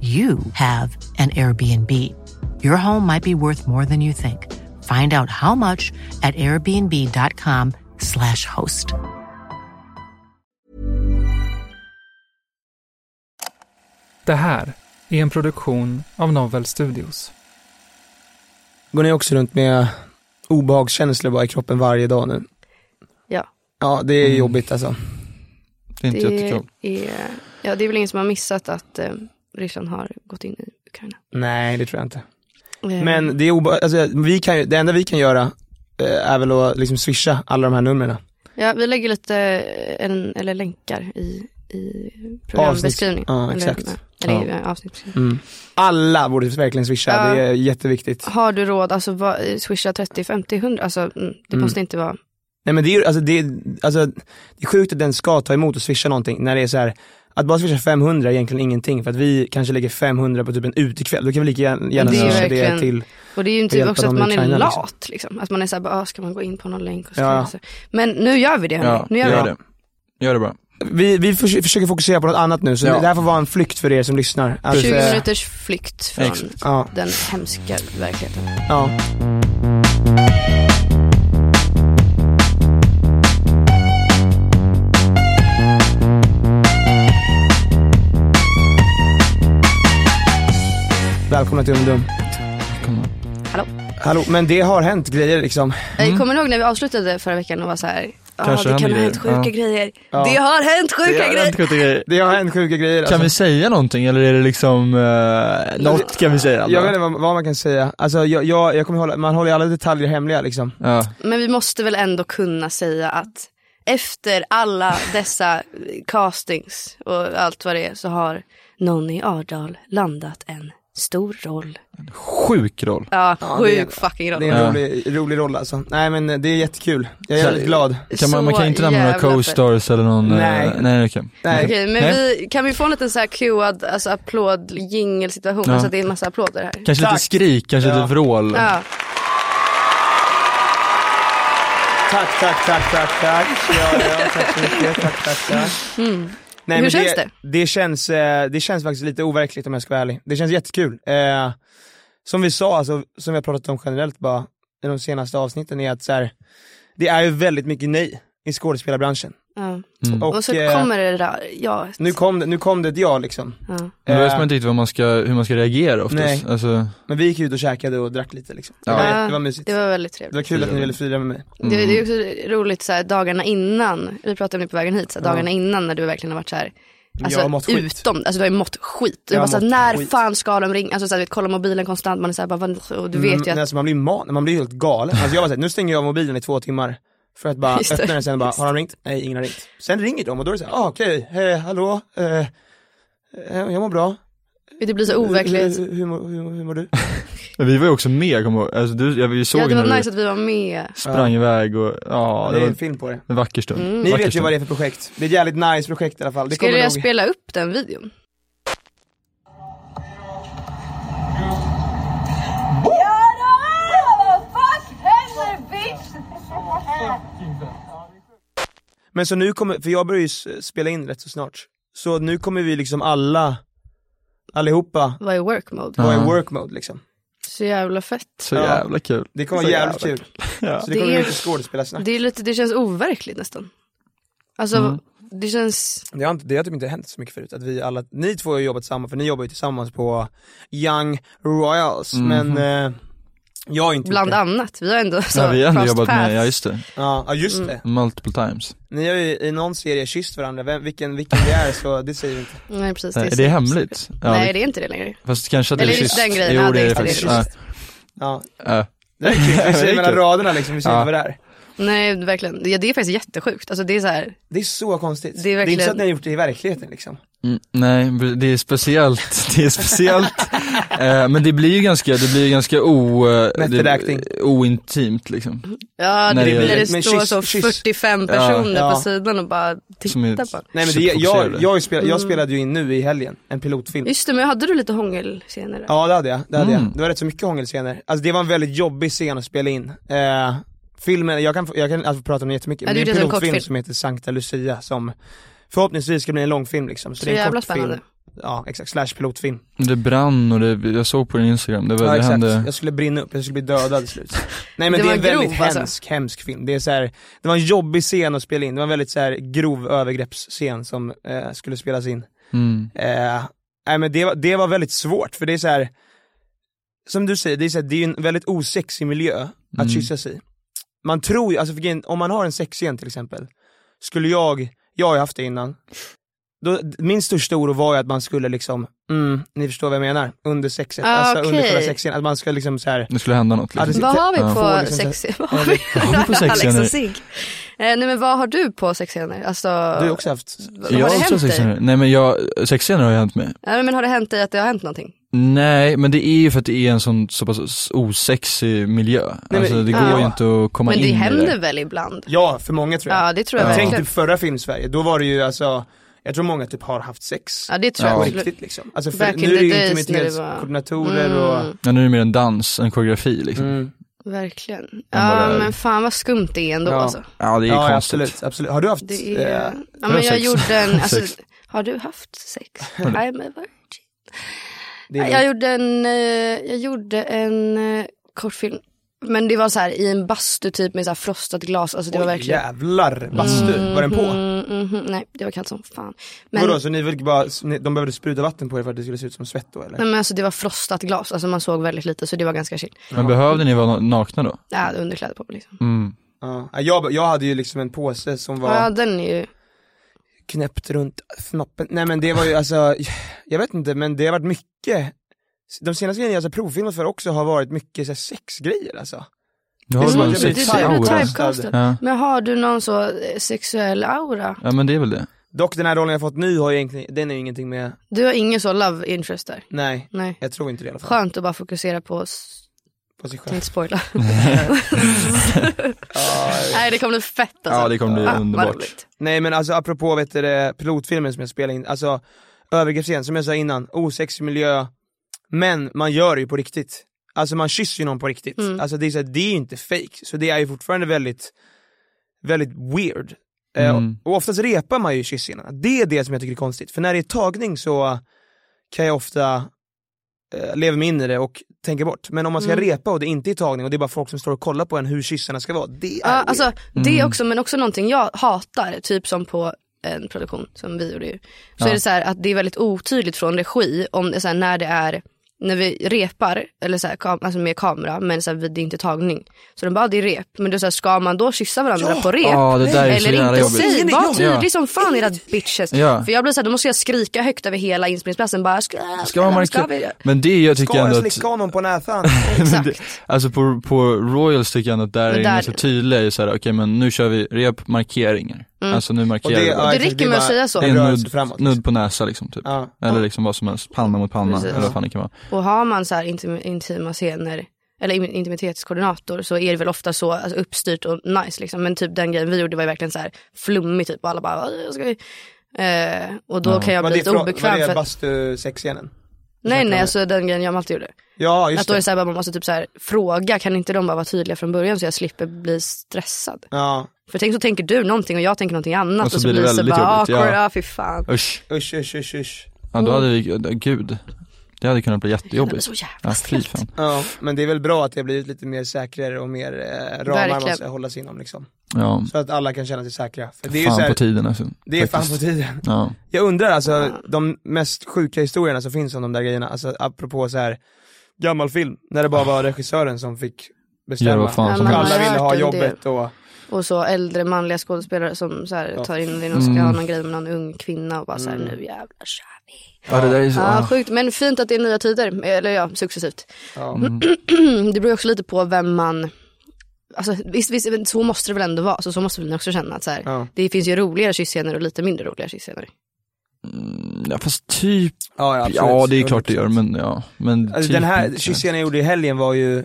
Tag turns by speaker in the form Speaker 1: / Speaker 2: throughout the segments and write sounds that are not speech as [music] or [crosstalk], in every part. Speaker 1: you have an Airbnb. Your home might be worth more than you think. Find out how much at airbnb.com/slash host.
Speaker 2: Det här är en produktion av Novel Studios.
Speaker 3: Går ni också runt med obehagskänslor bara i kroppen varje dag nu?
Speaker 4: Ja.
Speaker 3: Ja, det är
Speaker 4: Mm.
Speaker 3: jobbigt alltså.
Speaker 5: Det är inte jättekul.
Speaker 4: Är, ja, det är väl ingen som har missat att eh, Ryssland har gått in i Ukraina.
Speaker 3: Nej, det tror jag inte.
Speaker 4: Eh,
Speaker 3: Men det är obe- alltså, vi kan ju, det enda vi kan göra eh, är väl att liksom swisha alla de här numren.
Speaker 4: Ja, vi lägger lite, eh, en, eller länkar i, i programbeskrivningen.
Speaker 3: Ja, exakt.
Speaker 4: Eller, eller i avsnittsbeskrivningen.
Speaker 3: Mm. Alla borde verkligen swisha,
Speaker 4: Ja.
Speaker 3: det är jätteviktigt.
Speaker 4: Har du råd, alltså vad, eh, swisha 30, 50, 100, alltså mm, det
Speaker 3: Mm.
Speaker 4: måste inte vara,
Speaker 3: Nej men det är ju, alltså det, är- alltså det är sjukt att den ska ta emot och swisha någonting när det är så här att bara swisha 500 är egentligen ingenting för att vi kanske lägger 500 på typ en utekväll, då kan vi lika gärna, gärna
Speaker 4: Det är ju
Speaker 3: swisha det
Speaker 4: verkligen-
Speaker 3: till
Speaker 4: och det är ju en
Speaker 3: Och
Speaker 4: typ
Speaker 3: hjälpa
Speaker 4: också att
Speaker 3: dem i
Speaker 4: man
Speaker 3: Ukraina,
Speaker 4: är
Speaker 3: liksom.
Speaker 4: lat liksom. Att man är såhär, bara, ah, ska man gå in på någon länk och skriva
Speaker 3: Ja.
Speaker 4: så? Men nu gör vi det hörni,
Speaker 5: Ja,
Speaker 4: nu gör vi
Speaker 5: gör
Speaker 4: det.
Speaker 5: det. Gör det bara.
Speaker 3: Vi, vi förs- försöker fokusera på något annat nu så
Speaker 5: Ja.
Speaker 3: det här får vara en flykt för er som lyssnar. Att,
Speaker 4: 20
Speaker 3: eh,
Speaker 4: minuters flykt från
Speaker 5: Exakt.
Speaker 3: Ja,
Speaker 4: den hemska verkligheten.
Speaker 3: ja. Välkomna till Ungdom.
Speaker 4: Hallå.
Speaker 3: Hallå, men det har hänt grejer liksom.
Speaker 4: Jag Eh, kommer ihåg när vi avslutade förra veckan och var så här, ja
Speaker 5: Mm. Kanske
Speaker 4: det
Speaker 5: händer
Speaker 4: kan ha hänt
Speaker 5: grejer.
Speaker 4: sjuka
Speaker 5: Ja.
Speaker 4: grejer.
Speaker 3: Ja.
Speaker 4: Det har hänt sjuka grejer.
Speaker 3: Det har hänt sjuka grejer
Speaker 5: Kan vi
Speaker 3: alltså.
Speaker 5: säga någonting eller är det liksom, eh, något kan vi säga?
Speaker 3: Jag
Speaker 5: bara?
Speaker 3: vet inte vad, vad man kan säga. Alltså jag, jag, jag kommer hålla, man håller ju alla detaljer hemliga liksom.
Speaker 5: Ja.
Speaker 4: Men vi måste väl ändå kunna säga att efter alla dessa eh, castings och allt vad det är så har någon i Ardal landat en stor roll.
Speaker 5: Sjuk roll.
Speaker 4: Ja,
Speaker 3: det är-
Speaker 4: sjuk fucking roll.
Speaker 3: Det är en
Speaker 5: Ja.
Speaker 3: rolig, rolig roll alltså. Nej men eh, det är jättekul. Jag är
Speaker 5: Så-
Speaker 3: väldigt glad.
Speaker 5: Kan man, man
Speaker 4: Så
Speaker 5: kan inte nämna några
Speaker 4: jävla
Speaker 5: co-stars eller någon, eh,
Speaker 3: Nej.
Speaker 5: nej okej.
Speaker 3: Nej.
Speaker 4: Okej, men
Speaker 5: Nej.
Speaker 4: vi, kan vi få en liten så här cuead, alltså applåd, jingelsituation,
Speaker 5: Ja.
Speaker 4: alltså att det är en massa applåder här.
Speaker 5: Kanske
Speaker 3: Tack.
Speaker 5: lite skrik, kanske
Speaker 3: Ja.
Speaker 5: lite vrål.
Speaker 4: Ja.
Speaker 3: Tack, tack, tack, tack, tack. Ja, ja, tack så mycket. Tack, tack, tack.
Speaker 4: Mm.
Speaker 3: Nej,
Speaker 4: Hur
Speaker 3: men
Speaker 4: känns
Speaker 3: det? Det känns, eh, det känns faktiskt lite overkligt om jag ska vara ärlig. Det känns jättekul. Eh, som vi sa, alltså, som vi har pratat om generellt bara i de senaste avsnitten är att så här, det är ju väldigt mycket nej i skådespelarbranschen.
Speaker 4: Ja.
Speaker 5: Mm.
Speaker 4: Och så
Speaker 3: eh,
Speaker 4: kommer det där, ja.
Speaker 3: nu, kom det, nu kom det ett ja liksom.
Speaker 4: ja.
Speaker 5: Men då vet
Speaker 3: Eh,
Speaker 5: man inte riktigt vad man ska, hur man ska reagera oftast.
Speaker 3: Nej.
Speaker 5: Alltså,
Speaker 3: Men vi gick ut och käkade och drack lite liksom.
Speaker 5: Ja.
Speaker 3: Det, var,
Speaker 4: Ja,
Speaker 3: det var mysigt.
Speaker 4: Det var väldigt trevligt.
Speaker 3: Det var kul att ni ville fira med mig.
Speaker 4: Det, det är också roligt så här, dagarna innan, vi pratade om det på vägen hit, så här,
Speaker 3: Ja.
Speaker 4: dagarna innan när du verkligen har varit så här, alltså,
Speaker 3: jag har mått skit.
Speaker 4: utom, alltså du har ju mått skit. Du
Speaker 3: Jag
Speaker 4: bara
Speaker 3: har
Speaker 4: så här,
Speaker 3: mått
Speaker 4: när
Speaker 3: skit.
Speaker 4: fan ska de ringa? Alltså så här, du vet, kolla mobilen konstant, man är så här, bara, vad- och du vet ju
Speaker 3: Men- men
Speaker 4: att,
Speaker 3: alltså, man blir ju man, man blir ju helt galen. Alltså jag var såhär, nu stänger jag av mobilen i två timmar. För att bara
Speaker 4: [laughs] Just det.
Speaker 3: öppna den sen och bara,
Speaker 4: Just
Speaker 3: har de ringt? Nej, ingen har ringt. Sen ringer de och då är det såhär, ah, okej, eh, hallå, eh, eh, jag mår bra.
Speaker 4: det blir så
Speaker 3: Hur,
Speaker 4: overkligt.
Speaker 3: hur, hur, mår- hur, hur mår du?
Speaker 5: Men vi var ju också med, jag kommer ihåg. alltså, du, jag, vi såg
Speaker 4: Ja, det
Speaker 5: när
Speaker 4: var
Speaker 5: du
Speaker 4: nice att vi var med.
Speaker 5: sprang iväg och ja, det
Speaker 3: det är
Speaker 5: var
Speaker 3: en film på det.
Speaker 5: en vacker stund.
Speaker 4: Mm.
Speaker 3: Ni
Speaker 5: Vacker
Speaker 3: vet ju
Speaker 5: stund.
Speaker 3: vad det är för projekt. Det är ett jävligt nice projekt i alla fall. Det
Speaker 4: Skulle
Speaker 3: kommer
Speaker 4: jag
Speaker 3: nog...
Speaker 4: spela upp den videon?
Speaker 3: Men så nu kommer, för jag börjar ju s- spela in rätt så snart. Så nu kommer vi liksom alla, allihopa,
Speaker 4: Var i work mode.
Speaker 3: vara i
Speaker 5: Ja.
Speaker 3: work mode liksom.
Speaker 4: Så jävla fett.
Speaker 5: Så
Speaker 3: Ja.
Speaker 5: jävla kul.
Speaker 3: Det kommer vara
Speaker 5: Så
Speaker 3: jävligt
Speaker 5: jävla
Speaker 3: kul.
Speaker 5: [laughs] Ja.
Speaker 3: Så det kommer
Speaker 4: Det är-
Speaker 3: bli mycket skådespelarsnack.
Speaker 4: Det, är lite, det känns overkligt nästan. Alltså, Det känns...
Speaker 3: Det har, inte, det har typ inte hänt så mycket förut. Att vi alla, ni två har jobbat tillsammans, för ni jobbar ju tillsammans på Young Royals.
Speaker 5: Mhm.
Speaker 3: Men eh, jag har inte
Speaker 4: Bland
Speaker 3: gjort det.
Speaker 4: annat. Vi har ändå så
Speaker 5: Ja, vi har ändå
Speaker 4: crossed
Speaker 5: jobbat
Speaker 4: paths.
Speaker 5: med, ja just det,
Speaker 3: Ja, ja,
Speaker 4: Mm.
Speaker 3: just det.
Speaker 5: multiple times.
Speaker 3: Ni har ju i någon serie kysst varandra, Vem, vilken, vilken det är så det säger vi inte.
Speaker 4: Nej, precis.
Speaker 5: Nej, är det hemligt? Ja,
Speaker 4: Nej,
Speaker 5: vi-
Speaker 4: det är inte det längre.
Speaker 5: Fast kanske att det
Speaker 4: Eller
Speaker 5: är
Speaker 4: just
Speaker 5: kysst.
Speaker 4: den grejen,
Speaker 5: jo
Speaker 4: ja,
Speaker 5: det är det
Speaker 4: det är
Speaker 5: faktiskt.
Speaker 4: kysst.
Speaker 3: Ja.
Speaker 5: Ja,
Speaker 3: Det
Speaker 5: [laughs]
Speaker 3: är kul, vi
Speaker 5: Det
Speaker 3: säger
Speaker 5: är
Speaker 3: mellan
Speaker 5: kul.
Speaker 3: raderna liksom, vi ser
Speaker 5: Ja.
Speaker 3: inte vad det är.
Speaker 4: Nej, verkligen. Ja, det är faktiskt jättesjukt. Alltså, det är så här...
Speaker 3: Det är så konstigt.
Speaker 4: Det är
Speaker 3: det är inte så
Speaker 4: verkligen-
Speaker 3: att ni har gjort det i verkligheten liksom.
Speaker 5: Mm, nej, det är speciellt, [laughs] det är speciellt. eh, men det blir ju ganska, det blir ju ganska o, eh,
Speaker 3: Nätteräkning.
Speaker 5: det, ointimt liksom.
Speaker 4: Ja,
Speaker 5: Nej,
Speaker 4: det,
Speaker 5: det gör
Speaker 4: blir
Speaker 5: det.
Speaker 4: när det
Speaker 3: Men
Speaker 4: står
Speaker 3: kyss-
Speaker 4: så
Speaker 3: kyss.
Speaker 4: 45
Speaker 5: Ja.
Speaker 4: personer
Speaker 3: Ja.
Speaker 4: på sidan och bara
Speaker 5: Som är-
Speaker 4: tittar på.
Speaker 3: Nej men det,
Speaker 5: Superfokuserade.
Speaker 3: jag, jag, har ju spelat,
Speaker 4: Mm.
Speaker 3: jag spelade ju in nu i helgen, en pilotfilm.
Speaker 4: Just det, men hade du lite hångelscener? där?
Speaker 3: Ja det hade jag, det hade
Speaker 5: Mm.
Speaker 3: jag. Det var rätt så mycket hångelscener. Alltså det var en väldigt jobbig scen att spela in. Eh, filmen, jag kan, få- jag kan alltså prata om den jättemycket,
Speaker 4: Ja,
Speaker 3: men
Speaker 4: du
Speaker 3: det är en
Speaker 4: gjorde en
Speaker 3: pilotfilm
Speaker 4: kortfilm.
Speaker 3: som heter Sankta Lucia som förhoppningsvis ska bli en långfilm liksom. Så,
Speaker 4: Så
Speaker 3: det är en
Speaker 4: jävla
Speaker 3: kortfilm.
Speaker 4: spännande.
Speaker 3: Ja exakt, slash pilotfilm.
Speaker 5: Det brann och det, jag såg på din instagram, det, var,
Speaker 3: Ja,
Speaker 5: det
Speaker 3: exakt.
Speaker 5: hände.
Speaker 3: Jag skulle brinna upp, jag skulle bli dödad till
Speaker 4: [laughs]
Speaker 3: slut. Nej men
Speaker 4: Det
Speaker 3: det,
Speaker 4: var
Speaker 3: är en
Speaker 4: grov,
Speaker 3: väldigt
Speaker 4: alltså.
Speaker 3: hemsk, hemsk film. Det, är så här, det var en jobbig scen att spela in, det var en väldigt så här, grov övergreppsscen som eh, skulle spelas in.
Speaker 5: Mm.
Speaker 3: Eh, nej men det, var- det var väldigt svårt för det är så här. som du säger, det är, så här, det är ju en väldigt osexig miljö att
Speaker 5: Mm.
Speaker 3: kyssas i. Man tror ju, alltså för grejen- om man har en sexscen till exempel, skulle jag, jag har ju haft det innan, då, min största oro var ju att man skulle liksom, mm, ni förstår vad jag menar, under sexet,
Speaker 4: Ah,
Speaker 3: alltså under
Speaker 4: okej.
Speaker 3: själva sexscenen, att man ska liksom så här.
Speaker 5: Det skulle hända något
Speaker 3: Ja, det-
Speaker 5: liksom.
Speaker 4: Vad har vi
Speaker 5: Ja.
Speaker 3: Får
Speaker 4: på
Speaker 3: liksom
Speaker 4: sex... Vad
Speaker 3: Ja,
Speaker 4: har
Speaker 3: det-
Speaker 4: vi
Speaker 5: Vad har vi på sexscener?
Speaker 4: Alex och Sig. [laughs] Eh, nej men vad har du på sexscener? Alltså,
Speaker 3: Du har ju också haft,
Speaker 4: vad- har
Speaker 5: jag
Speaker 4: det
Speaker 5: också
Speaker 4: hänt dig?
Speaker 5: sexscener. Nej men jag, sexscener har ju hänt mig.
Speaker 4: Ja, men har det hänt dig att det har hänt någonting?
Speaker 5: Nej men det är ju för att det är en sån så pass osexig miljö.
Speaker 3: men-
Speaker 5: alltså det går
Speaker 4: Ja.
Speaker 5: ju inte att komma
Speaker 4: men
Speaker 5: in
Speaker 4: det
Speaker 5: i
Speaker 4: händer
Speaker 5: det.
Speaker 4: väl ibland?
Speaker 3: ja för många tror jag.
Speaker 4: Ja, det tror jag
Speaker 5: Ja.
Speaker 3: Tänk
Speaker 4: verkligen.
Speaker 3: typ förra film Sverige, då var det ju alltså, jag tror många typ har haft sex.
Speaker 4: Ja, det tror
Speaker 5: Ja.
Speaker 4: jag
Speaker 3: På
Speaker 4: absolut.
Speaker 3: riktigt liksom. Alltså för,
Speaker 4: Back in
Speaker 3: nu är det
Speaker 4: the
Speaker 3: ju
Speaker 4: days när det var- Mm.
Speaker 3: intimitetskoordinatorer och
Speaker 5: Ja, nu är det mer en dans, en koreografi liksom.
Speaker 3: Mm.
Speaker 4: Verkligen.
Speaker 5: Ja, vad
Speaker 4: Ja,
Speaker 5: det är.
Speaker 4: men fan vad skumt det är ändå
Speaker 3: Ja.
Speaker 4: alltså.
Speaker 5: Ja det är
Speaker 3: Ja,
Speaker 5: konstigt.
Speaker 3: absolut, absolut. Har du haft,
Speaker 4: Det är...
Speaker 3: eh,
Speaker 4: Ja, men jag
Speaker 5: sex.
Speaker 4: gjorde en...
Speaker 5: Sex.
Speaker 4: Alltså, har du haft sex? I'm a virgin.
Speaker 3: det
Speaker 4: Jag gjorde en, eh, jag gjorde en eh, kortfilm. Men det var så här i en bastu typ med så här frostat glas. Alltså det var
Speaker 3: Oj,
Speaker 4: verkligen.
Speaker 3: jävlar, bastu, var den på?
Speaker 4: Mm, mhm, nej det var kallt som fan. Men,
Speaker 3: Vadå, så ni ville bara, ni- de behövde spruta vatten på er för att det skulle se ut som svett då eller?
Speaker 4: nej, men alltså det var frostat glas. Alltså man såg väldigt lite så det var ganska chill.
Speaker 5: Men behövde ni vara nakna då?
Speaker 4: Jag hade underkläder på mig liksom.
Speaker 5: Mm.
Speaker 3: Ja, jag, jag hade ju liksom en påse som var
Speaker 4: Ja den är ju.
Speaker 3: knäppt runt snoppen, nej men det var ju alltså, jag vet inte men det har varit mycket de senaste grejerna jag har provfilmat för också har varit mycket så här, sexgrejer alltså.
Speaker 5: Du
Speaker 3: Det
Speaker 5: har
Speaker 3: är
Speaker 5: väl
Speaker 3: som
Speaker 5: en
Speaker 4: Mm,
Speaker 3: att jag blir
Speaker 5: sexig
Speaker 3: typ-
Speaker 4: du
Speaker 3: aura.
Speaker 4: blir
Speaker 5: aura?
Speaker 4: typecastad.
Speaker 5: Ja.
Speaker 4: Men har du någon så eh, sexuell aura?
Speaker 5: ja men det är väl det.
Speaker 3: Dock den här rollen jag fått nu har ju egentligen, den är ju ingenting med,
Speaker 4: Du har ingen så love interest där?
Speaker 3: nej,
Speaker 4: Nej.
Speaker 3: jag tror inte det i alla fall.
Speaker 4: Skönt att bara fokusera på, s-
Speaker 3: På sig
Speaker 4: kan
Speaker 3: själv.
Speaker 4: inte spoila.
Speaker 5: [laughs]
Speaker 4: Nej det kommer bli fett alltså.
Speaker 5: Ja det kommer bli
Speaker 4: Ah, vad
Speaker 5: underbart.
Speaker 4: roligt.
Speaker 3: Nej men alltså apropå vet du, det, pilotfilmen som jag spelade in, alltså övergreppsscen, som jag sa innan, osexig miljö, men man gör det ju på riktigt. Alltså man kysser ju någon på riktigt.
Speaker 4: Mm.
Speaker 3: Alltså det är, så här, det är ju inte fake så det är ju fortfarande väldigt, väldigt weird. Eh,
Speaker 5: Mm.
Speaker 3: och oftast repar man ju kyss innan, det är det som jag tycker är konstigt. För när det är tagning så kan jag ofta eh, leva mig in i det och tänka bort. Men om man ska
Speaker 4: Mm.
Speaker 3: repa och det inte är tagning och det är bara folk som står och kollar på en hur kyssarna ska vara, det är
Speaker 4: Ja,
Speaker 3: weird.
Speaker 4: alltså, det
Speaker 5: Mm.
Speaker 4: också, men också någonting jag hatar, typ som på en produktion som vi gjorde ju. Så är det så här att det är väldigt otydligt från regi om det så här, när det är när vi repar, eller så här, kam- alltså med kamera, men så här, vi- det är inte tagning. Så de bara, det är rep. Men då, så här, ska man då kyssa varandra på rep?
Speaker 5: Ja, det där är så
Speaker 4: eller
Speaker 5: jävla
Speaker 4: inte
Speaker 5: jobbigt.
Speaker 4: säg,
Speaker 3: Nej, ja.
Speaker 4: var tydlig som fan era bitches.
Speaker 5: Ja.
Speaker 4: För jag blir så här, då måste jag skrika högt över hela inspelningsplatsen. Bara, ska,
Speaker 5: Ska man
Speaker 4: ska
Speaker 5: markera?
Speaker 4: vi?
Speaker 5: Men det jag
Speaker 3: Ska
Speaker 5: tycker
Speaker 3: jag
Speaker 5: ändå att,
Speaker 3: slicka honom på näsan? [laughs]
Speaker 5: [laughs] men
Speaker 4: Exakt.
Speaker 5: det, alltså på, på Royals tycker jag ändå att där
Speaker 4: Men
Speaker 5: är
Speaker 4: där-
Speaker 5: ganska tydliga, är så här, okej men nu kör vi rep markeringar.
Speaker 3: Mm.
Speaker 5: Alltså nu
Speaker 3: Och
Speaker 5: markerar vi.
Speaker 3: ja,
Speaker 5: bara.
Speaker 4: Det
Speaker 3: exakt,
Speaker 4: räcker med
Speaker 3: bara
Speaker 4: att säga så.
Speaker 5: Det
Speaker 3: en
Speaker 5: är en
Speaker 3: rörelse
Speaker 5: nudd,
Speaker 3: framåt.
Speaker 5: nudd på näsa liksom typ.
Speaker 3: Ja.
Speaker 5: Eller liksom vad som helst, panna mot panna
Speaker 4: Precis.
Speaker 5: eller vad fan det kan vara.
Speaker 4: Och har man så här intim, intima scener, eller im- intimitetskoordinator så är det väl ofta så alltså uppstyrt och nice liksom. Men typ den grejen vi gjorde var ju verkligen så här flummig typ och alla bara, "Åh, ska vi? Eh, och då kan jag
Speaker 3: Var
Speaker 4: bli
Speaker 3: det,
Speaker 4: lite
Speaker 3: frå- var
Speaker 4: obekväm.
Speaker 3: det
Speaker 4: För att,
Speaker 3: bastusexscenen?
Speaker 4: nej nej, alltså den grejen jag alltid gjorde.
Speaker 3: Ja, just
Speaker 4: Att då är
Speaker 3: det.
Speaker 4: det så här, bara, man måste typ så här, fråga, kan inte de bara vara tydliga från början så jag slipper bli stressad?
Speaker 3: Ja,
Speaker 4: För tänk så tänker du någonting och jag tänker någonting annat
Speaker 3: Alltså,
Speaker 4: och så, blir det så
Speaker 5: väldigt
Speaker 4: bara ah,
Speaker 5: jobbigt,
Speaker 4: awkward,
Speaker 5: ja.
Speaker 4: ja. fy fan.
Speaker 5: Usch,
Speaker 3: usch usch usch usch.
Speaker 5: ja då hade vi, gud. Det hade kunnat bli
Speaker 4: Det är
Speaker 5: jättejobbigt.
Speaker 4: så jävla
Speaker 5: Ja, fy
Speaker 4: stelt.
Speaker 5: fan.
Speaker 3: Ja, men det är väl bra att det har blivit lite mer säkrare och mer eh, ramar man
Speaker 4: Verkligen.
Speaker 3: ska hålla sig inom liksom.
Speaker 5: Ja,
Speaker 3: Så att alla kan känna sig säkra. För det är ju
Speaker 5: fan
Speaker 3: så här,
Speaker 5: på tiden alltså.
Speaker 3: det är fan på
Speaker 5: Faktiskt.
Speaker 3: tiden.
Speaker 5: Ja.
Speaker 3: Jag undrar alltså, de mest sjuka historierna som finns om de där grejerna, alltså apropå så här gammal film, när det bara var regissören som fick bestämma.
Speaker 5: Göra vad fan
Speaker 3: och
Speaker 5: som
Speaker 4: helst.
Speaker 3: alla ville
Speaker 4: Man har
Speaker 3: ha
Speaker 4: hört en
Speaker 3: jobbet och,
Speaker 4: Och så äldre manliga skådespelare som så här, tar in och ska
Speaker 3: Mm.
Speaker 4: ha någon grej med någon ung kvinna och bara så här, nu jävlar kör vi.
Speaker 5: ja, det där är så,
Speaker 4: Ja,
Speaker 5: ah.
Speaker 4: sjukt. Men fint att det är nya tider. Eller ja, successivt. Mm,
Speaker 3: ja.
Speaker 4: Det beror ju också lite på vem man... Alltså, visst, visst, men så måste det väl ändå vara. Så, så måste man också känna. Att, så här,
Speaker 3: Ja.
Speaker 4: Det finns ju roligare kyssscener och lite mindre roliga kyssscener.
Speaker 5: ja fast typ,
Speaker 3: Ja, ja, absolut.
Speaker 5: ja det är klart det gör men ja. Men
Speaker 3: Alltså,
Speaker 5: typ
Speaker 3: den här
Speaker 5: inte.
Speaker 3: kyssen jag gjorde i helgen var ju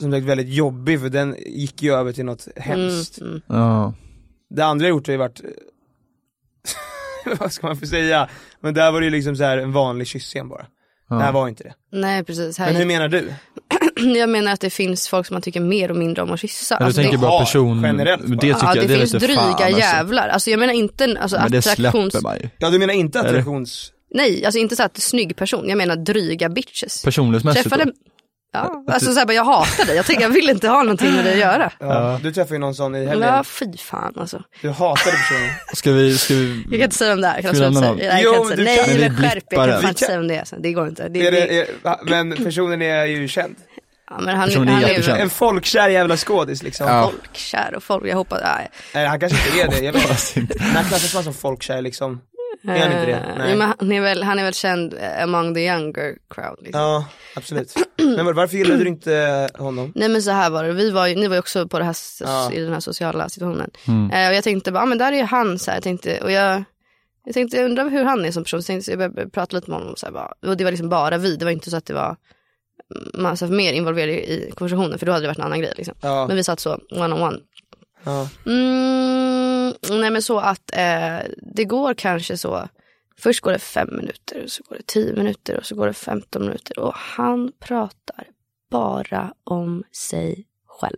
Speaker 3: som sagt väldigt jobbig för den gick ju över till något hemskt.
Speaker 5: mm.
Speaker 3: Alltså,
Speaker 5: Ja.
Speaker 3: Det andra jag gjort har ju varit, [laughs] vad ska man få säga? Men där var det ju liksom så här en vanlig kyssscen bara. Det här var ju inte det.
Speaker 4: Nej precis.
Speaker 3: Men hur
Speaker 4: Här,
Speaker 3: menar du?
Speaker 4: [clears throat] jag menar att det finns folk som man tycker mer och mindre om att kyssa.
Speaker 5: Ja, du
Speaker 4: Alltså,
Speaker 5: tänker
Speaker 4: det,
Speaker 5: bara
Speaker 3: har
Speaker 5: person,
Speaker 3: generellt
Speaker 5: det
Speaker 3: bara.
Speaker 5: tycker
Speaker 4: ja,
Speaker 5: jag,
Speaker 4: det,
Speaker 5: det är
Speaker 4: finns
Speaker 5: lite
Speaker 4: dryga
Speaker 5: fan alltså.
Speaker 4: jävlar. Alltså, jag menar inte alltså,
Speaker 5: Men det
Speaker 4: attraktions...
Speaker 5: släpper man ju.
Speaker 3: Ja du menar inte attraktions...
Speaker 4: Nej, alltså inte så att snygg person. Jag menar dryga bitches.
Speaker 5: Personlighetsmässigt
Speaker 4: Träffade...
Speaker 5: alltså, då? typ.
Speaker 4: Ja, alltså så här, bara, jag hatar dig. Jag tänker jag vill inte ha någonting med dig att göra.
Speaker 3: Ja. Du träffade ju någon sån i helgen,
Speaker 4: Ja, fy fan alltså.
Speaker 3: du hatade personen.
Speaker 5: Ska vi, ska vi,
Speaker 4: Jag kan inte säga vem det är. Kan
Speaker 5: Skulle
Speaker 4: jag
Speaker 5: man
Speaker 4: säga.
Speaker 5: ha-
Speaker 4: Nej, jag
Speaker 3: Jo,
Speaker 4: kan inte
Speaker 3: du
Speaker 4: säga.
Speaker 3: kan-
Speaker 4: Nej,
Speaker 5: Men
Speaker 4: men
Speaker 5: vi
Speaker 4: skärp er. Jag
Speaker 5: blippar den.
Speaker 4: kan fan inte säga vem det är. Alltså. Det går inte. Det,
Speaker 3: Är
Speaker 4: det,
Speaker 3: det, är, va? men personen är ju känd.
Speaker 4: ja, men han,
Speaker 5: Personen
Speaker 4: han
Speaker 5: är
Speaker 4: är
Speaker 5: jättekänd.
Speaker 4: ju
Speaker 3: En folkkär jävla skådis liksom.
Speaker 5: ja.
Speaker 4: folkkär och folk. Jag hoppas, nej.
Speaker 3: Nej, han kanske inte är det, jag vet inte.
Speaker 5: [laughs] Fast inte.
Speaker 3: Men Han klassas bara som folkkär liksom. Är han inte det?
Speaker 4: Eh,
Speaker 3: Nej.
Speaker 4: jo, men han, är väl, han är väl känd eh, among the younger crowd. Liksom.
Speaker 3: Ja, absolut. Men var- varför
Speaker 4: [clears throat]
Speaker 3: gillade du inte eh, honom?
Speaker 4: Nej men så här var det, vi var, ju- ni var ju också på det här,
Speaker 3: Ja.
Speaker 4: i den här sociala situationen.
Speaker 5: Mm.
Speaker 4: Eh, och jag tänkte bara, ah, men där är ju han så här, jag tänkte, och jag, jag tänkte, jag undrar hur han är som person. Så tänkte, jag började prata lite med honom, och, så här, bara, och det var liksom bara vi, det var inte så att det var massa mer involverade i konversationen, för då hade det varit en annan grej. Liksom.
Speaker 3: Ja.
Speaker 4: Men vi satt så, one on one.
Speaker 3: Ja.
Speaker 4: Mm, nej men så att eh, det går kanske så. Först går det fem minuter och så går det tio minuter och så går det 15 minuter. Och han pratar bara om sig själv.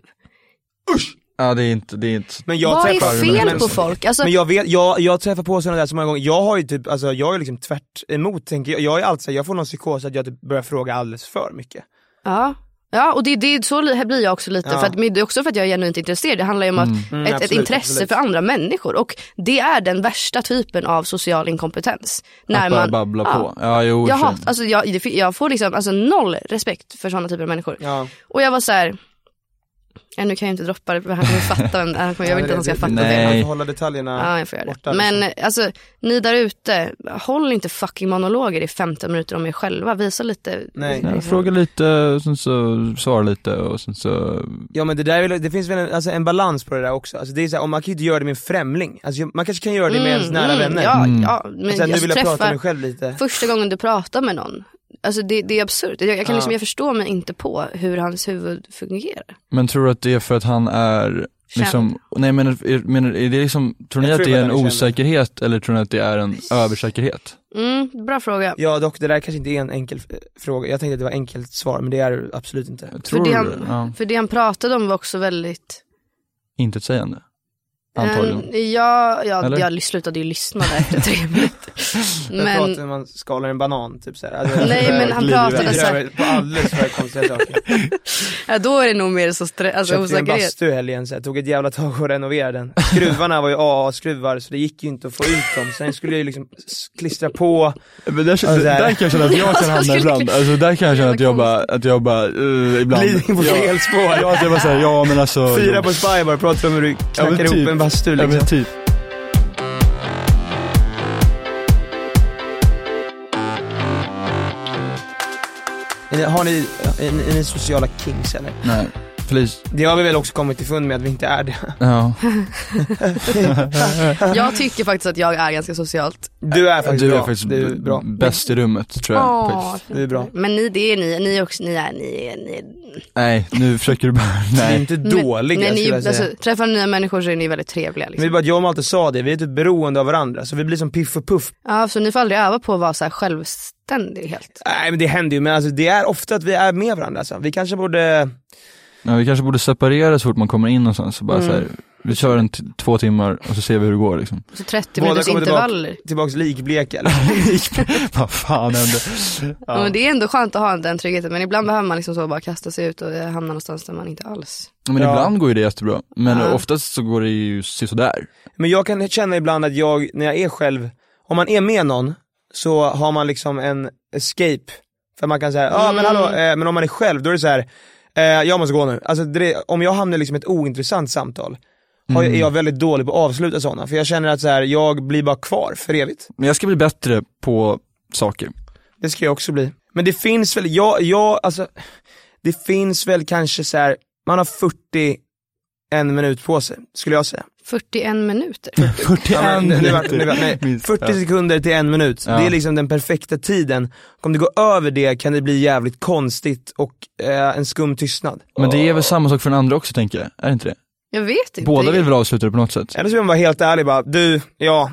Speaker 5: ja, det är inte, det är inte,
Speaker 3: Men jag
Speaker 4: Vad
Speaker 3: träffar-
Speaker 4: är fel
Speaker 3: men-
Speaker 4: på folk? Alltså,
Speaker 3: Men jag vet, jag, jag träffar på sådana där så många gånger, jag har ju typ, alltså jag är liksom tvärt emot tänker jag. Jag är alltid så här, jag får någon psykos att jag typ börjar fråga alldeles för mycket.
Speaker 4: ja. Ja, och det, det, är så li- här blir jag också lite.
Speaker 3: Ja.
Speaker 4: För att, men det är också för att jag är genuint intresserad. Det handlar ju om att, ett, ett
Speaker 3: absolut,
Speaker 4: intresse
Speaker 3: absolut.
Speaker 4: för andra människor. Och det är den värsta typen av social inkompetens. När
Speaker 5: att bara
Speaker 4: man,
Speaker 5: babbla
Speaker 4: ja.
Speaker 5: på. Ja,
Speaker 4: Jag,
Speaker 5: jo, i och för
Speaker 4: hat,
Speaker 5: sig.
Speaker 4: alltså jag, det- jag får liksom alltså noll respekt för sådana typer av människor.
Speaker 3: Ja.
Speaker 4: Och jag var så här. Ja, nu kan jag inte droppa det för han kommer fatta vem det är. Han kommer- Jag vill inte att han ska fatta
Speaker 5: Nej.
Speaker 4: det.
Speaker 3: Man får hålla detaljerna
Speaker 4: Ja, jag får göra
Speaker 3: borta.
Speaker 4: det. Men
Speaker 3: liksom.
Speaker 4: alltså, ni där ute, håll inte fucking monologer i 15 minuter om er själva. Visa lite.
Speaker 3: Nej.
Speaker 5: Ja, fråga lite, och sen så svara lite och sen så,
Speaker 3: Ja men det där är väl, det finns väl en, alltså en balans på det där också. Alltså det är så här, om man kan ju inte göra det med en främling. Alltså jag- man kanske kan göra det med ens nära vänner.
Speaker 4: Mm, Ja, ja. Men
Speaker 3: Sen, nu
Speaker 4: jag
Speaker 3: vill jag prata
Speaker 4: träffar
Speaker 3: med mig själv lite.
Speaker 4: första gången du pratar med någon. Alltså det, det är absurt. Jag, jag, kan liksom, jag förstår mig inte på hur hans huvud fungerar.
Speaker 5: men tror du att det är för att han är Liksom, nej men är, menar, är det liksom, tror ni
Speaker 3: Jag
Speaker 5: att
Speaker 3: tror
Speaker 5: det är
Speaker 3: att
Speaker 5: en
Speaker 3: han är känd.
Speaker 5: osäkerhet eller tror ni att det är en översäkerhet?
Speaker 4: Mm, bra fråga.
Speaker 3: Ja dock, det där kanske inte är en enkel eh, fråga. Jag tänkte att det var enkelt svar, men det är det absolut inte.
Speaker 5: Tror
Speaker 4: för, det
Speaker 5: du
Speaker 4: han,
Speaker 5: det? Ja,
Speaker 4: för det han pratade om var också väldigt
Speaker 5: intetsägande. Antagligen.
Speaker 4: Mm, ja, ja
Speaker 5: Eller?
Speaker 4: jag slutade ju lyssna där efter tre
Speaker 3: [laughs]
Speaker 4: minuter.
Speaker 3: Men... Pratar
Speaker 4: Men,
Speaker 3: hur man skalar en banan, typ såhär. Alltså,
Speaker 4: Nej, men han
Speaker 3: glider
Speaker 4: pratade
Speaker 3: över-
Speaker 4: så här-
Speaker 3: över På alldeles för konstiga saker.
Speaker 4: ja, då är det nog mer så stre- [laughs] alltså,
Speaker 3: Köpte ju en
Speaker 4: osäkerhet.
Speaker 3: bastu i helgen, så här, tog ett jävla tag och renoverade den. Skruvarna var ju AA-skruvar så det gick ju inte att få ut dem. Sen skulle jag ju liksom s- klistra på.
Speaker 5: Men där,
Speaker 3: Alltså,
Speaker 5: där kan jag känna att jag kan hamna ibland, alltså där kan jag känna att jag bara, att jag bara, eh, ibland
Speaker 3: Glidning på fel spår.
Speaker 5: Ja, att jag bara säger ja men alltså
Speaker 3: Fyra på Spy bara, pratar om hur du
Speaker 5: Ja,
Speaker 3: knackar
Speaker 5: men typ.
Speaker 3: ihop en bastu
Speaker 5: Ja,
Speaker 3: liksom.
Speaker 5: men typ.
Speaker 3: Är ni- Har ni, är ni, är ni sociala kings eller?
Speaker 5: Nej, Felice,
Speaker 3: Det har vi väl också kommit ifrån med att vi inte är det.
Speaker 5: ja.
Speaker 4: Jag tycker faktiskt att jag är ganska socialt.
Speaker 3: Du är faktiskt
Speaker 5: Du
Speaker 3: bra.
Speaker 5: är faktiskt
Speaker 3: du är bra.
Speaker 5: bäst i rummet tror jag.
Speaker 4: Åh,
Speaker 5: faktiskt.
Speaker 3: Du är bra.
Speaker 4: men ni, det är ni, ni är också, ni är, ni är, ni är.
Speaker 5: Nej, nu försöker du bara, [laughs]
Speaker 3: Vi är
Speaker 5: nej.
Speaker 3: inte dåliga
Speaker 4: men, ni,
Speaker 3: skulle jag säga.
Speaker 4: alltså, Träffar ni nya människor så är ni väldigt trevliga.
Speaker 3: Men det är
Speaker 4: Liksom.
Speaker 3: bara att jag och Malte sa det, vi är typ beroende av varandra. Så vi blir som Piff och Puff.
Speaker 4: Ja, så ni får aldrig öva på att vara så här självständig helt.
Speaker 3: Nej men det händer ju, men alltså, det är ofta att vi är med varandra. Alltså. Vi kanske borde,
Speaker 5: Ja, vi kanske borde separera så fort man kommer in någonstans och bara så här, vi kör en t- två timmar och så ser vi hur det går liksom.
Speaker 3: [laughs]
Speaker 4: Så 30
Speaker 3: Båda
Speaker 4: minuters
Speaker 3: kommer
Speaker 4: intervaller.
Speaker 3: Tillbaks likbleka eller?
Speaker 5: Vad fan hände?
Speaker 4: Ja. Men det är ändå skönt att ha den tryggheten men ibland behöver man liksom så bara kasta sig ut och eh, hamna någonstans där man inte alls.
Speaker 5: Men
Speaker 3: Ja.
Speaker 5: ibland går ju det jättebra, men
Speaker 4: Ja.
Speaker 5: oftast så går det ju sådär.
Speaker 3: Men jag kan känna ibland att jag, när jag är själv, om man är med någon så har man liksom en escape. För man kan säga, ja ah, men hallå, eh, men om man är själv då är det så här. Eh, jag måste gå nu. Alltså, det, om jag hamnar i liksom ett ointressant samtal, har jag, är jag väldigt dålig på att avsluta sådana. För jag känner att så här, jag blir bara kvar för evigt.
Speaker 5: Men jag ska bli bättre på saker.
Speaker 3: Det ska jag också bli. Men det finns väl, jag, jag alltså, det finns väl kanske så här. man har 41 minut på sig, skulle jag säga.
Speaker 4: 41
Speaker 5: [laughs]
Speaker 4: minuter.
Speaker 5: 41
Speaker 3: Ja, men, nu, nu, nu, nu, nej,
Speaker 5: [laughs] Minst.
Speaker 3: 40 sekunder till en minut,
Speaker 5: Ja.
Speaker 3: det är liksom den perfekta tiden. Om det går över det kan det bli jävligt konstigt och eh, en skum tystnad.
Speaker 5: Men det är väl samma sak för den andra också tänker jag, är det inte det?
Speaker 4: Jag vet inte.
Speaker 5: Båda vill väl avsluta det på något sätt?
Speaker 3: Eller så vill man vara helt ärlig bara, du, ja,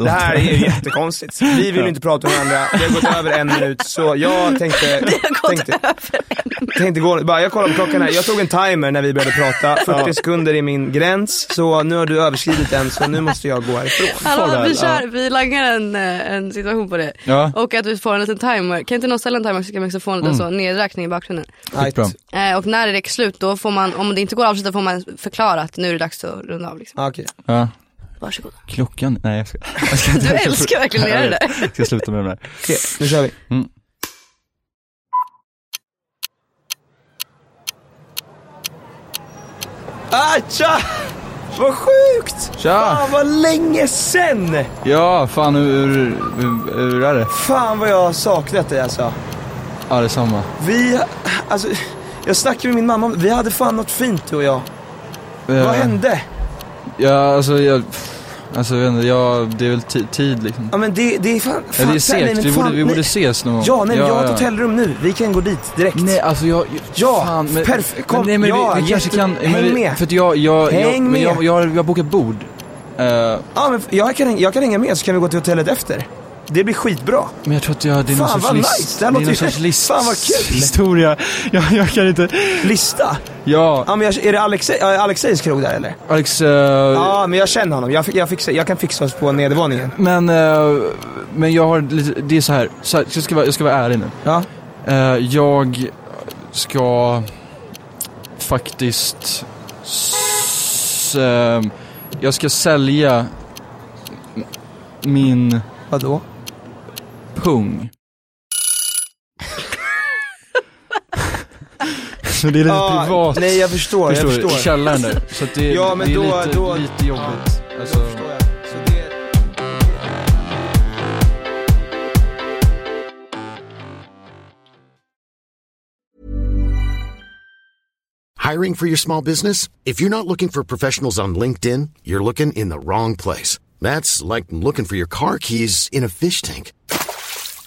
Speaker 3: det här är ju jättekonstigt. Vi vill ju inte prata med varandra, det har gått över en minut så jag tänkte... [laughs] Det har gått tänkte, över en tänkte gå, bara, Jag kollar på klockan här, jag tog en timer när vi började prata, 40 sekunder är min gräns, så nu har du överskridit den så nu måste jag gå härifrån.
Speaker 4: Hallå, vi,
Speaker 5: Ja.
Speaker 4: kör, vi langar en, eh, en situation på det.
Speaker 5: Ja,
Speaker 4: Och att vi får en liten timer. Kan inte någon ställa en timer så kan vi också få en
Speaker 5: Mm.
Speaker 4: liten så nedräkning i bakgrunden.
Speaker 5: skitbra.
Speaker 3: Right.
Speaker 4: Eh, och när det är slut då får man, om det inte går att avsluta får man förklara att nu är det dags att runda av. Liksom.
Speaker 3: Ah, okej.
Speaker 5: Ja.
Speaker 4: Varsågod.
Speaker 5: [laughs] Klockan, nej jag ska, jag ska
Speaker 4: Du älskar verkligen att göra det där.
Speaker 5: Jag ska sluta med Mm. det där.
Speaker 3: Okej, nu kör vi. Ah, tja! Vad sjukt!
Speaker 5: Tja!
Speaker 3: Fan vad länge sen!
Speaker 5: Ja, fan hur, hur, hur är det?
Speaker 3: Fan vad jag har saknat dig alltså.
Speaker 5: Ja, detsamma.
Speaker 3: Vi, alltså, jag snackade med min mamma om- vi hade fan något fint du och jag. Vad hände?
Speaker 5: Ja, alltså jag, alltså jag vet inte, jag, det är väl ti- tid liksom.
Speaker 3: Ja men det, det är fan, fan
Speaker 5: Ja, det är
Speaker 3: nej, men
Speaker 5: segt, vi
Speaker 3: fan,
Speaker 5: borde, vi borde
Speaker 3: nej.
Speaker 5: ses någon gång.
Speaker 3: Ja, nej men jag har ett
Speaker 5: ja.
Speaker 3: hotellrum nu, vi kan gå dit direkt.
Speaker 5: Nej, alltså jag...
Speaker 3: Ja, perfekt. Kom,
Speaker 5: nej, men
Speaker 3: ja,
Speaker 5: vi, vi kanske
Speaker 3: jätte-
Speaker 5: kan... men
Speaker 3: häng
Speaker 5: vi,
Speaker 3: med.
Speaker 5: För att jag, jag, jag,
Speaker 3: Häng
Speaker 5: men
Speaker 3: med.
Speaker 5: jag, jag, jag har bokat bord. Eh,
Speaker 3: Ja men jag kan, jag kan hänga med så kan vi gå till hotellet efter. Det blir skitbra.
Speaker 5: men jag tror att jag, det är någon
Speaker 3: Fan,
Speaker 5: sorts
Speaker 3: vad
Speaker 5: list...
Speaker 3: nice. Det här
Speaker 5: är
Speaker 3: låter
Speaker 5: någon
Speaker 3: ju-
Speaker 5: sorts list...
Speaker 3: [laughs] Fan, vad kul.
Speaker 5: Historia. Jag, jag kan inte...
Speaker 3: Lista?
Speaker 5: Ja,
Speaker 3: Ja men jag, är det Alexej, ja, Alexejs krog där eller?
Speaker 5: Alex... eh,
Speaker 3: Ja men jag känner honom, jag, fi- jag, fixar, jag kan fixa oss på nedervåningen.
Speaker 5: Men, eh, men jag har lite... Det är så här. Så här jag, ska vara, jag ska vara ärlig nu.
Speaker 3: Ja.
Speaker 5: Eh, jag ska faktiskt... S, eh, jag ska sälja min
Speaker 3: Vadå?
Speaker 5: pung. [laughs] Så det är lite
Speaker 3: Ja,
Speaker 5: privat.
Speaker 3: Nej jag förstår,
Speaker 5: förstår,
Speaker 3: jag
Speaker 5: du?
Speaker 3: förstår.
Speaker 5: Källaren där. Så att det,
Speaker 3: Ja, men
Speaker 5: det är
Speaker 3: då-
Speaker 5: lite,
Speaker 3: då-
Speaker 5: lite jobbigt.
Speaker 3: ja,
Speaker 5: alltså,
Speaker 3: Då förstår jag. Så det...
Speaker 6: Hiring for your small business? If you're not looking for professionals on LinkedIn, you're looking in the wrong place. That's like looking for your car keys in a fish tank.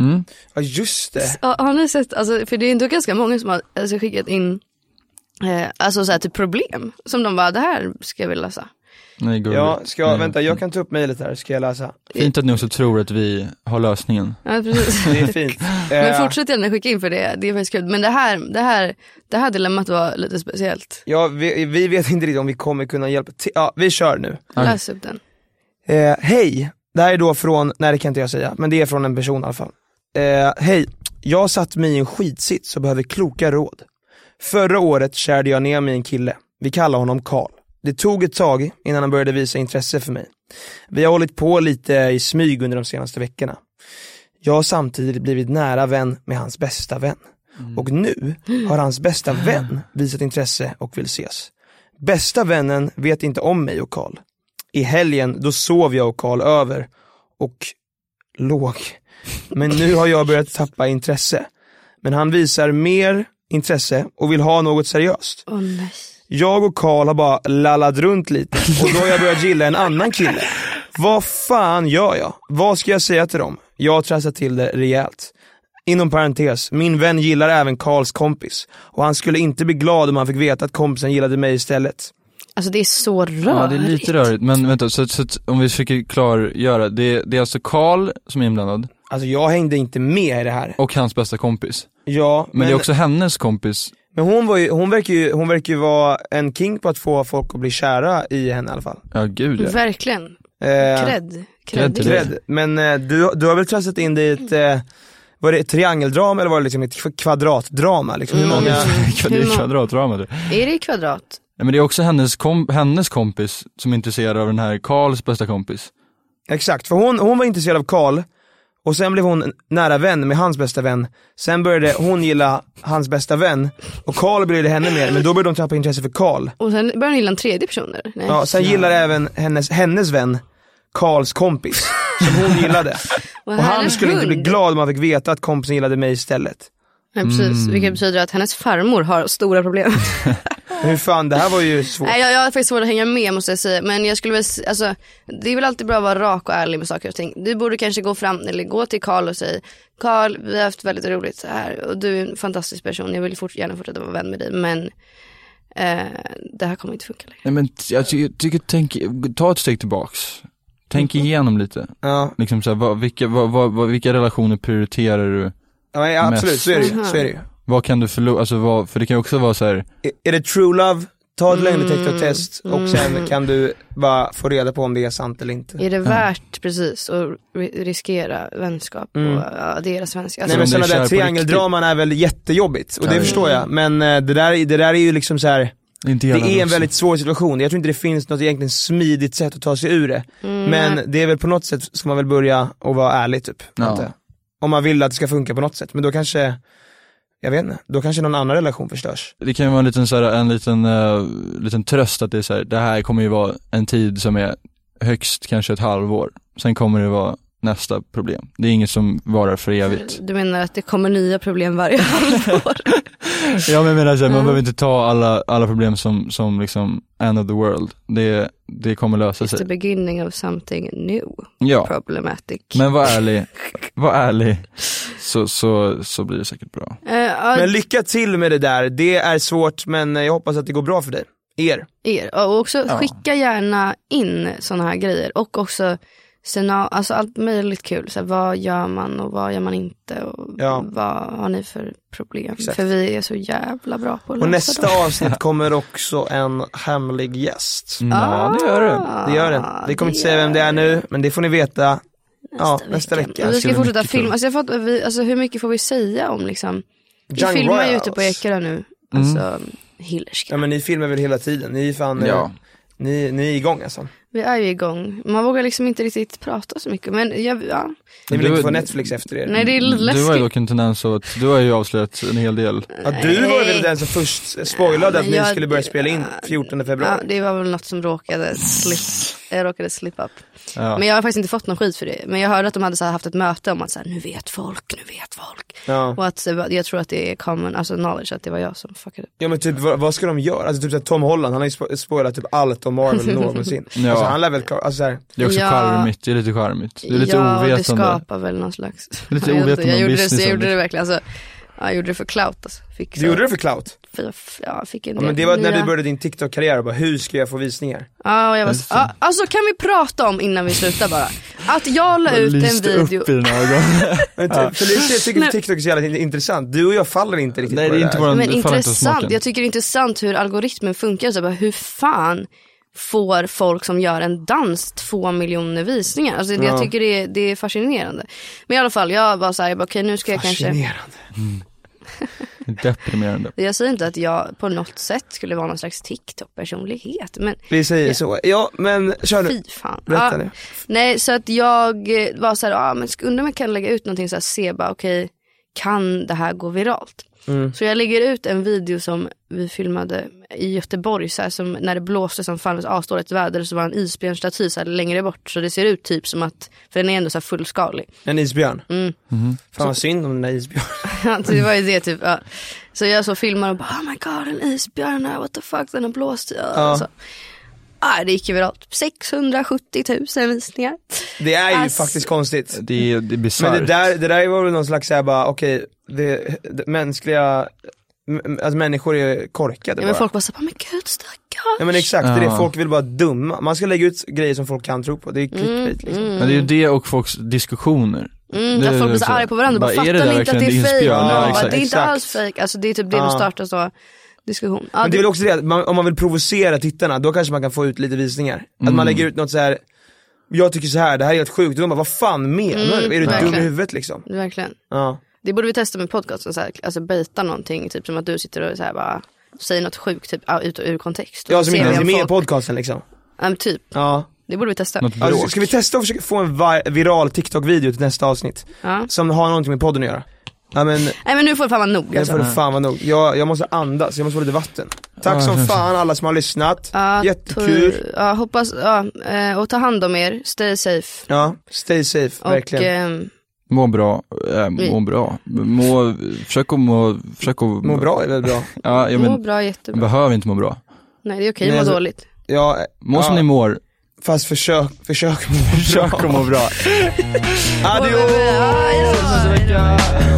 Speaker 5: mm.
Speaker 3: Ja just det.
Speaker 4: Ja, har ni sett, alltså, för det är ändå ganska många som har alltså, skickat in eh, alltså, så här, typ problem som de bara, det här ska jag vilja lösa.
Speaker 5: Nej, gulligt.
Speaker 3: Ja, ska jag,
Speaker 5: Nej,
Speaker 3: vänta jag kan ta upp mejlet här, ska jag läsa.
Speaker 5: Fint att ni också tror att vi har lösningen.
Speaker 4: Ja, precis.
Speaker 3: Det är fint. Eh,
Speaker 4: [laughs] Men fortsätt gärna skicka in för det, det är faktiskt kul. Men det här, det här, det här dilemmat var lite speciellt.
Speaker 3: Ja, vi, vi vet inte riktigt om vi kommer kunna hjälpa till. Ja, vi kör nu.
Speaker 5: Okej.
Speaker 4: Läs upp den.
Speaker 3: Eh, hej, det här är då från, nej det kan inte jag säga, men det är från en person i alla fall. Eh, hej, jag har satt mig i en skitsits och behöver kloka råd. Förra året kärde jag ner mig i en kille, vi kallar honom Karl. Det tog ett tag innan han började visa intresse för mig. Vi har hållit på lite i smyg under de senaste veckorna. Jag har samtidigt blivit nära vän med hans bästa vän. Och nu har hans bästa vän visat intresse och vill ses. Bästa vännen vet inte om mig och Karl. I helgen då sov jag och Karl över och låg. Men nu har jag börjat tappa intresse. Men han visar mer intresse och vill ha något seriöst.
Speaker 4: Åh nej.
Speaker 3: Jag och Karl har bara lallat runt lite och då har jag börjat gilla en annan kille. Vad fan gör jag? Vad ska jag säga till dem? Jag har trasslat till det rejält. Inom parentes, min vän gillar även Karls kompis och han skulle inte bli glad om han fick veta att kompisen gillade mig istället.
Speaker 4: Alltså det är så rörigt.
Speaker 5: Ja, det är lite rörigt. Men vänta, så, så, så om vi försöker klargöra. Det, det är alltså Karl som är inblandad
Speaker 3: Alltså jag hängde inte med i det här.
Speaker 5: och hans bästa kompis.
Speaker 3: Ja,
Speaker 5: Men, det är också hennes kompis.
Speaker 3: men hon, var ju, hon, verkar ju, hon verkar ju vara en king på att få folk att bli kära i henne i alla fall.
Speaker 5: Ja, gud [laughs] ja.
Speaker 4: Verkligen.
Speaker 3: Eh,
Speaker 4: Cred.
Speaker 5: Cred till
Speaker 4: Cred.
Speaker 5: dig.
Speaker 3: Rädd. Men eh, du, du har väl trasslat in dig i ett, eh, var det ett triangeldrama eller var det liksom ett kv- kvadratdrama? Liksom, hur
Speaker 4: Mm.
Speaker 3: många,
Speaker 5: Det
Speaker 4: Hur
Speaker 5: är
Speaker 4: må-
Speaker 5: kvadratrama du.
Speaker 4: Är det i kvadrat?
Speaker 5: Ja, men det är också hennes, kom, hennes kompis som är intresserad av den här Karls bästa kompis.
Speaker 3: exakt, för hon, hon var intresserad av Karl och sen blev hon nära vän med hans bästa vän. Sen började hon gilla hans bästa vän och Karl började henne mer, men då började de tappa intresse för Karl.
Speaker 4: Och sen börjar han gilla en tredje person eller? Nej.
Speaker 3: Ja, sen gillar även hennes, hennes vän Karls kompis, som hon gillade. Och han
Speaker 4: hennes
Speaker 3: skulle inte bli
Speaker 4: hund.
Speaker 3: glad om han fick veta att kompisen gillade mig istället.
Speaker 4: Nej, precis. Vilket betyder att hennes farmor har stora [laughs] problem.
Speaker 3: Hur fan, det här var ju svårt.
Speaker 4: Nej, jag, jag har faktiskt svårt att hänga med måste jag säga. Men jag skulle väl, s- alltså, det är väl alltid bra att vara rak och ärlig med saker och ting. Du borde kanske gå fram, eller gå till Karl och säga, Karl vi har haft väldigt roligt så här och du är en fantastisk person, jag vill fort, gärna fortsätta vara vän med dig men eh, det här kommer inte funka längre.
Speaker 5: Nej men t- jag ty- jag tycker, tänk, ta ett steg tillbaks. Tänk igenom lite.
Speaker 3: Ja,
Speaker 5: Liksom så här, vad, vilka, vad, vad, vad, vilka relationer prioriterar du?
Speaker 3: ja, ja, absolut, så är det ju. Så är det ju.
Speaker 5: Vad kan du förlora, alltså vad, för det kan ju också vara så här,
Speaker 3: Är- Är det true love, ta
Speaker 4: Mm.
Speaker 3: ett lögndetektortest och sen kan du bara få reda på om det är sant eller inte.
Speaker 4: Är det värt precis att ri- riskera vänskap och ja, deras vänskap?
Speaker 3: Nej
Speaker 4: Alltså,
Speaker 3: men
Speaker 5: om
Speaker 3: sådana
Speaker 5: det är kär
Speaker 3: där
Speaker 5: på
Speaker 3: triangeldraman är väl jättejobbigt och
Speaker 5: Ja,
Speaker 3: det
Speaker 5: ja.
Speaker 3: förstår jag. Men eh, det där, det där är ju liksom så här.
Speaker 5: inte
Speaker 3: det
Speaker 5: gärna
Speaker 3: är en
Speaker 5: vuxen.
Speaker 3: väldigt svår situation. Jag tror inte det finns något egentligen smidigt sätt att ta sig ur det.
Speaker 4: Mm,
Speaker 3: Men det är väl på något sätt ska man väl börja och vara ärlig typ.
Speaker 5: Ja.
Speaker 3: antar jag. Om man vill att det ska funka på något sätt. Men då kanske, jag vet inte, då kanske någon annan relation förstörs.
Speaker 5: Det kan ju vara en liten, så här, en liten, eh, liten tröst att det är så här, det här kommer ju vara en tid som är högst kanske ett halvår. Sen kommer det vara nästa problem. Det är inget som varar för evigt.
Speaker 4: Alltså, du menar att det kommer nya problem varje halvår?
Speaker 5: Ja men jag menar så
Speaker 4: Mm.
Speaker 5: här, man behöver inte ta alla, alla problem som, som liksom end of the world. Det, det kommer lösa
Speaker 4: It's the
Speaker 5: sig.
Speaker 4: beginning of something new
Speaker 5: Ja,
Speaker 4: problematic.
Speaker 5: men var ärlig, var ärlig så, så, så blir det säkert bra.
Speaker 4: Eh, ja,
Speaker 3: Men lycka till med det där, det är svårt men eh, jag hoppas att det går bra för dig. Er.
Speaker 4: er. Och också
Speaker 5: Ja.
Speaker 4: skicka gärna in sådana här grejer. Och också sena, alltså allt möjligt kul. Så här, vad gör man och vad gör man inte? Och
Speaker 3: Ja.
Speaker 4: Vad har ni för problem?
Speaker 3: Exakt.
Speaker 4: För vi är så jävla bra på att
Speaker 3: Och
Speaker 4: lösa dem.
Speaker 3: nästa avsnitt kommer också en hemlig gäst.
Speaker 5: Ja det gör det.
Speaker 4: Ah,
Speaker 3: Det gör den. Vi kommer inte säga vem det är nu, men det får ni veta ja, nästa vecka.
Speaker 4: Och vi
Speaker 5: Ska
Speaker 4: ska
Speaker 5: bli
Speaker 4: fortsätta
Speaker 5: mycket kul.
Speaker 4: filma. Alltså, jag fattar, vi, alltså, hur mycket får vi säga om liksom? Vi
Speaker 3: Young
Speaker 4: filmar ju
Speaker 3: Royals.
Speaker 4: ute på Ekerö nu.
Speaker 3: Mm.
Speaker 4: Alltså, Hillerska.
Speaker 3: Ja men ni filmar väl hela tiden? Ni är fan, eh,
Speaker 5: Ja.
Speaker 3: ni, ni är igång alltså.
Speaker 4: Vi är ju igång. Man vågar liksom inte riktigt prata så mycket. Men jag, ja.
Speaker 3: Ni vill
Speaker 5: Du-
Speaker 3: inte få Netflix efter er.
Speaker 4: Nej det är
Speaker 5: Du har ju
Speaker 4: läskigt.
Speaker 5: dock en tendens av att, du har ju avslöjat en hel del.
Speaker 3: ja, du var
Speaker 4: Nej.
Speaker 3: väl den som först spoilade
Speaker 4: Ja,
Speaker 3: att
Speaker 4: men
Speaker 3: ni
Speaker 4: jag-
Speaker 3: skulle börja spela in 14
Speaker 4: Ja,
Speaker 3: februari.
Speaker 4: det var väl något som råkade slip, jag råkade slip up.
Speaker 5: Ja.
Speaker 4: Men jag har faktiskt inte fått någon skit för det. Men jag hörde att de hade så här haft ett möte om att så här, nu vet folk, nu vet folk.
Speaker 3: Ja.
Speaker 4: Och att så, jag tror att det är common, alltså knowledge att det var jag som fuckade upp.
Speaker 3: Ja men typ vad, vad ska de göra? Alltså typ så här, Tom Holland, han har ju spo- spoilat typ allt om
Speaker 4: [laughs]
Speaker 3: Marvel någonsin.
Speaker 5: Ja.
Speaker 3: Alltså han lär väl klara, alltså så här,
Speaker 5: Det är också
Speaker 4: Ja.
Speaker 5: charmigt, det är lite charmigt. Det är lite
Speaker 4: ja,
Speaker 5: ovetande.
Speaker 4: det skapar väl någon slags.
Speaker 5: Lite
Speaker 4: Jag vet inte,
Speaker 5: ovetande om
Speaker 4: jag, gjorde det, så
Speaker 5: businessen,
Speaker 4: jag gjorde det
Speaker 5: liksom.
Speaker 4: verkligen. Alltså, ja, jag gjorde det för clout alltså. Fick så,
Speaker 3: du gjorde det för clout?
Speaker 4: fyra- ja, fick en
Speaker 3: Ja,
Speaker 4: del
Speaker 3: men det var när
Speaker 4: nya-
Speaker 3: du började din TikTok-karriär och bara, hur ska jag få visningar?
Speaker 4: Ja, och jag var, så- ja, alltså kan vi prata om innan vi slutar bara. Att jag la ut en
Speaker 5: lyste
Speaker 4: video.
Speaker 5: upp i dina
Speaker 3: [laughs]
Speaker 5: ögon.
Speaker 3: Men typ, Felicia jag
Speaker 4: [laughs]
Speaker 3: tycker att TikTok är så jävla in- intressant, du och jag faller inte riktigt
Speaker 5: Nej
Speaker 3: på
Speaker 5: det är inte
Speaker 3: där.
Speaker 5: våran,
Speaker 4: Men
Speaker 5: det faller inte oss
Speaker 4: intressant,
Speaker 5: smaken.
Speaker 4: jag tycker det är intressant hur algoritmen funkar. Så bara, hur fan får folk som gör en dans två miljoner visningar? Alltså, det- Jag tycker det är, det är fascinerande. Men i alla fall, jag var så här, jag bara, okej nu ska jag kanske...
Speaker 3: Fascinerande.
Speaker 7: Deprimerande.
Speaker 4: Jag säger inte att jag på något sätt skulle vara någon slags TikTok-personlighet men
Speaker 3: Vi säger så. Ja men kör nu.
Speaker 4: fy fan.
Speaker 3: Berätta
Speaker 4: Ja.
Speaker 3: nu.
Speaker 4: Nej, så att jag eh, var så här, ah, men sk- undrar om jag kan lägga ut någonting så här, se bara okej, kan det här gå viralt? Så jag lägger ut en video som vi filmade i Göteborg, så här, som när det blåste som fan, det var asdåligt väder, så var en isbjörnstaty så här, längre bort, så det ser ut typ som att, för den är ändå så här fullskalig. [laughs]
Speaker 3: En isbjörn.
Speaker 4: Mm.
Speaker 3: Fan vad synd om den där isbjörnen. [laughs]
Speaker 4: Så det var ju det typ, ja. Så jag så filmar och bara oh my god en isbjörn här, what the fuck den har blåst. Ja. Så. Ah, det gick ju viralt, 670 000 visningar.
Speaker 3: Det är ju
Speaker 4: Alltså-
Speaker 3: faktiskt konstigt.
Speaker 7: Det är, det är bisarrt.
Speaker 3: Men det där, det där var väl någon slags såhär bara, okej, det, det mänskliga, m- alltså människor är korkade bara.
Speaker 4: Ja, men folk var såhär, men
Speaker 3: Ja
Speaker 4: gud stackarn.
Speaker 3: men exakt, det är det.
Speaker 7: Ja.
Speaker 3: folk vill bara dumma. Man ska lägga ut grejer som folk kan tro på, det är clickbait liksom.
Speaker 7: Men det är ju det och folks diskussioner.
Speaker 4: Mm,
Speaker 7: Det
Speaker 4: där
Speaker 7: är
Speaker 4: folk blir så
Speaker 7: så här,
Speaker 4: arga på varandra. Bara,
Speaker 7: bara, är det
Speaker 4: fattar ni
Speaker 7: där
Speaker 4: inte att det är
Speaker 7: verkligen
Speaker 4: fejk?
Speaker 7: inspiration?
Speaker 3: Ja,
Speaker 4: Ja,
Speaker 3: exakt,
Speaker 4: det är inte
Speaker 3: exakt.
Speaker 4: alls fejk. Alltså, det är typ det
Speaker 3: Ja.
Speaker 4: de startar så diskussion. Ja,
Speaker 3: Men det är
Speaker 4: det,
Speaker 3: väl också det att man, om man vill provocera tittarna, då kanske man kan få ut lite visningar. Att man lägger ut något så här. jag tycker så här, det här är helt sjukt, och de bara, vad fan menar du? Är du dum i
Speaker 4: Mm, verkligen.
Speaker 3: huvudet liksom?
Speaker 4: verkligen.
Speaker 3: Ja.
Speaker 4: Det borde vi testa med podcasten. Så här, alltså baita någonting. Typ som att du sitter och så här, bara säger något sjukt typ, ja, ut ur kontext. Och
Speaker 3: Jag
Speaker 4: så
Speaker 3: som
Speaker 4: ser
Speaker 3: inte
Speaker 4: vi
Speaker 3: ens är
Speaker 4: om
Speaker 3: med i
Speaker 4: folk-
Speaker 3: podcasten liksom.
Speaker 4: Ja, men typ.
Speaker 3: Ja.
Speaker 4: Det borde vi testa.
Speaker 7: Något
Speaker 3: Ja,
Speaker 7: bråk.
Speaker 3: Alltså, Ska vi testa att försöka få en vi- viral TikTok-video till nästa avsnitt?
Speaker 4: Ja.
Speaker 3: Som har någonting med podden att göra. Ja men,
Speaker 4: Nej men nu får det fan vara nog.
Speaker 3: det
Speaker 4: Alltså.
Speaker 3: får det fan vara nog. Jag, jag måste andas, jag måste få lite vatten. Tack som fan alla som har lyssnat.
Speaker 4: Ja,
Speaker 3: Jättekul.
Speaker 4: tor- Ja, hoppas, ja, eh, och ta hand om er. Stay safe.
Speaker 3: Ja, stay safe,
Speaker 4: Och
Speaker 3: verkligen.
Speaker 4: ehm,
Speaker 7: Må bra, äh, må
Speaker 4: Mm.
Speaker 7: bra. Må, försök att må, försök att
Speaker 3: Må bra är väl bra.
Speaker 7: Ja, jag
Speaker 4: må
Speaker 7: men,
Speaker 4: bra, jättebra.
Speaker 7: behöver inte må bra.
Speaker 4: Nej det är okej
Speaker 3: Nej,
Speaker 4: att
Speaker 3: alltså-
Speaker 4: må dåligt.
Speaker 3: Ja,
Speaker 7: Må
Speaker 3: ja,
Speaker 7: som ni mår.
Speaker 3: Fast försök, försök må bra. Försök att må bra. Adios!
Speaker 4: Ja, hej då.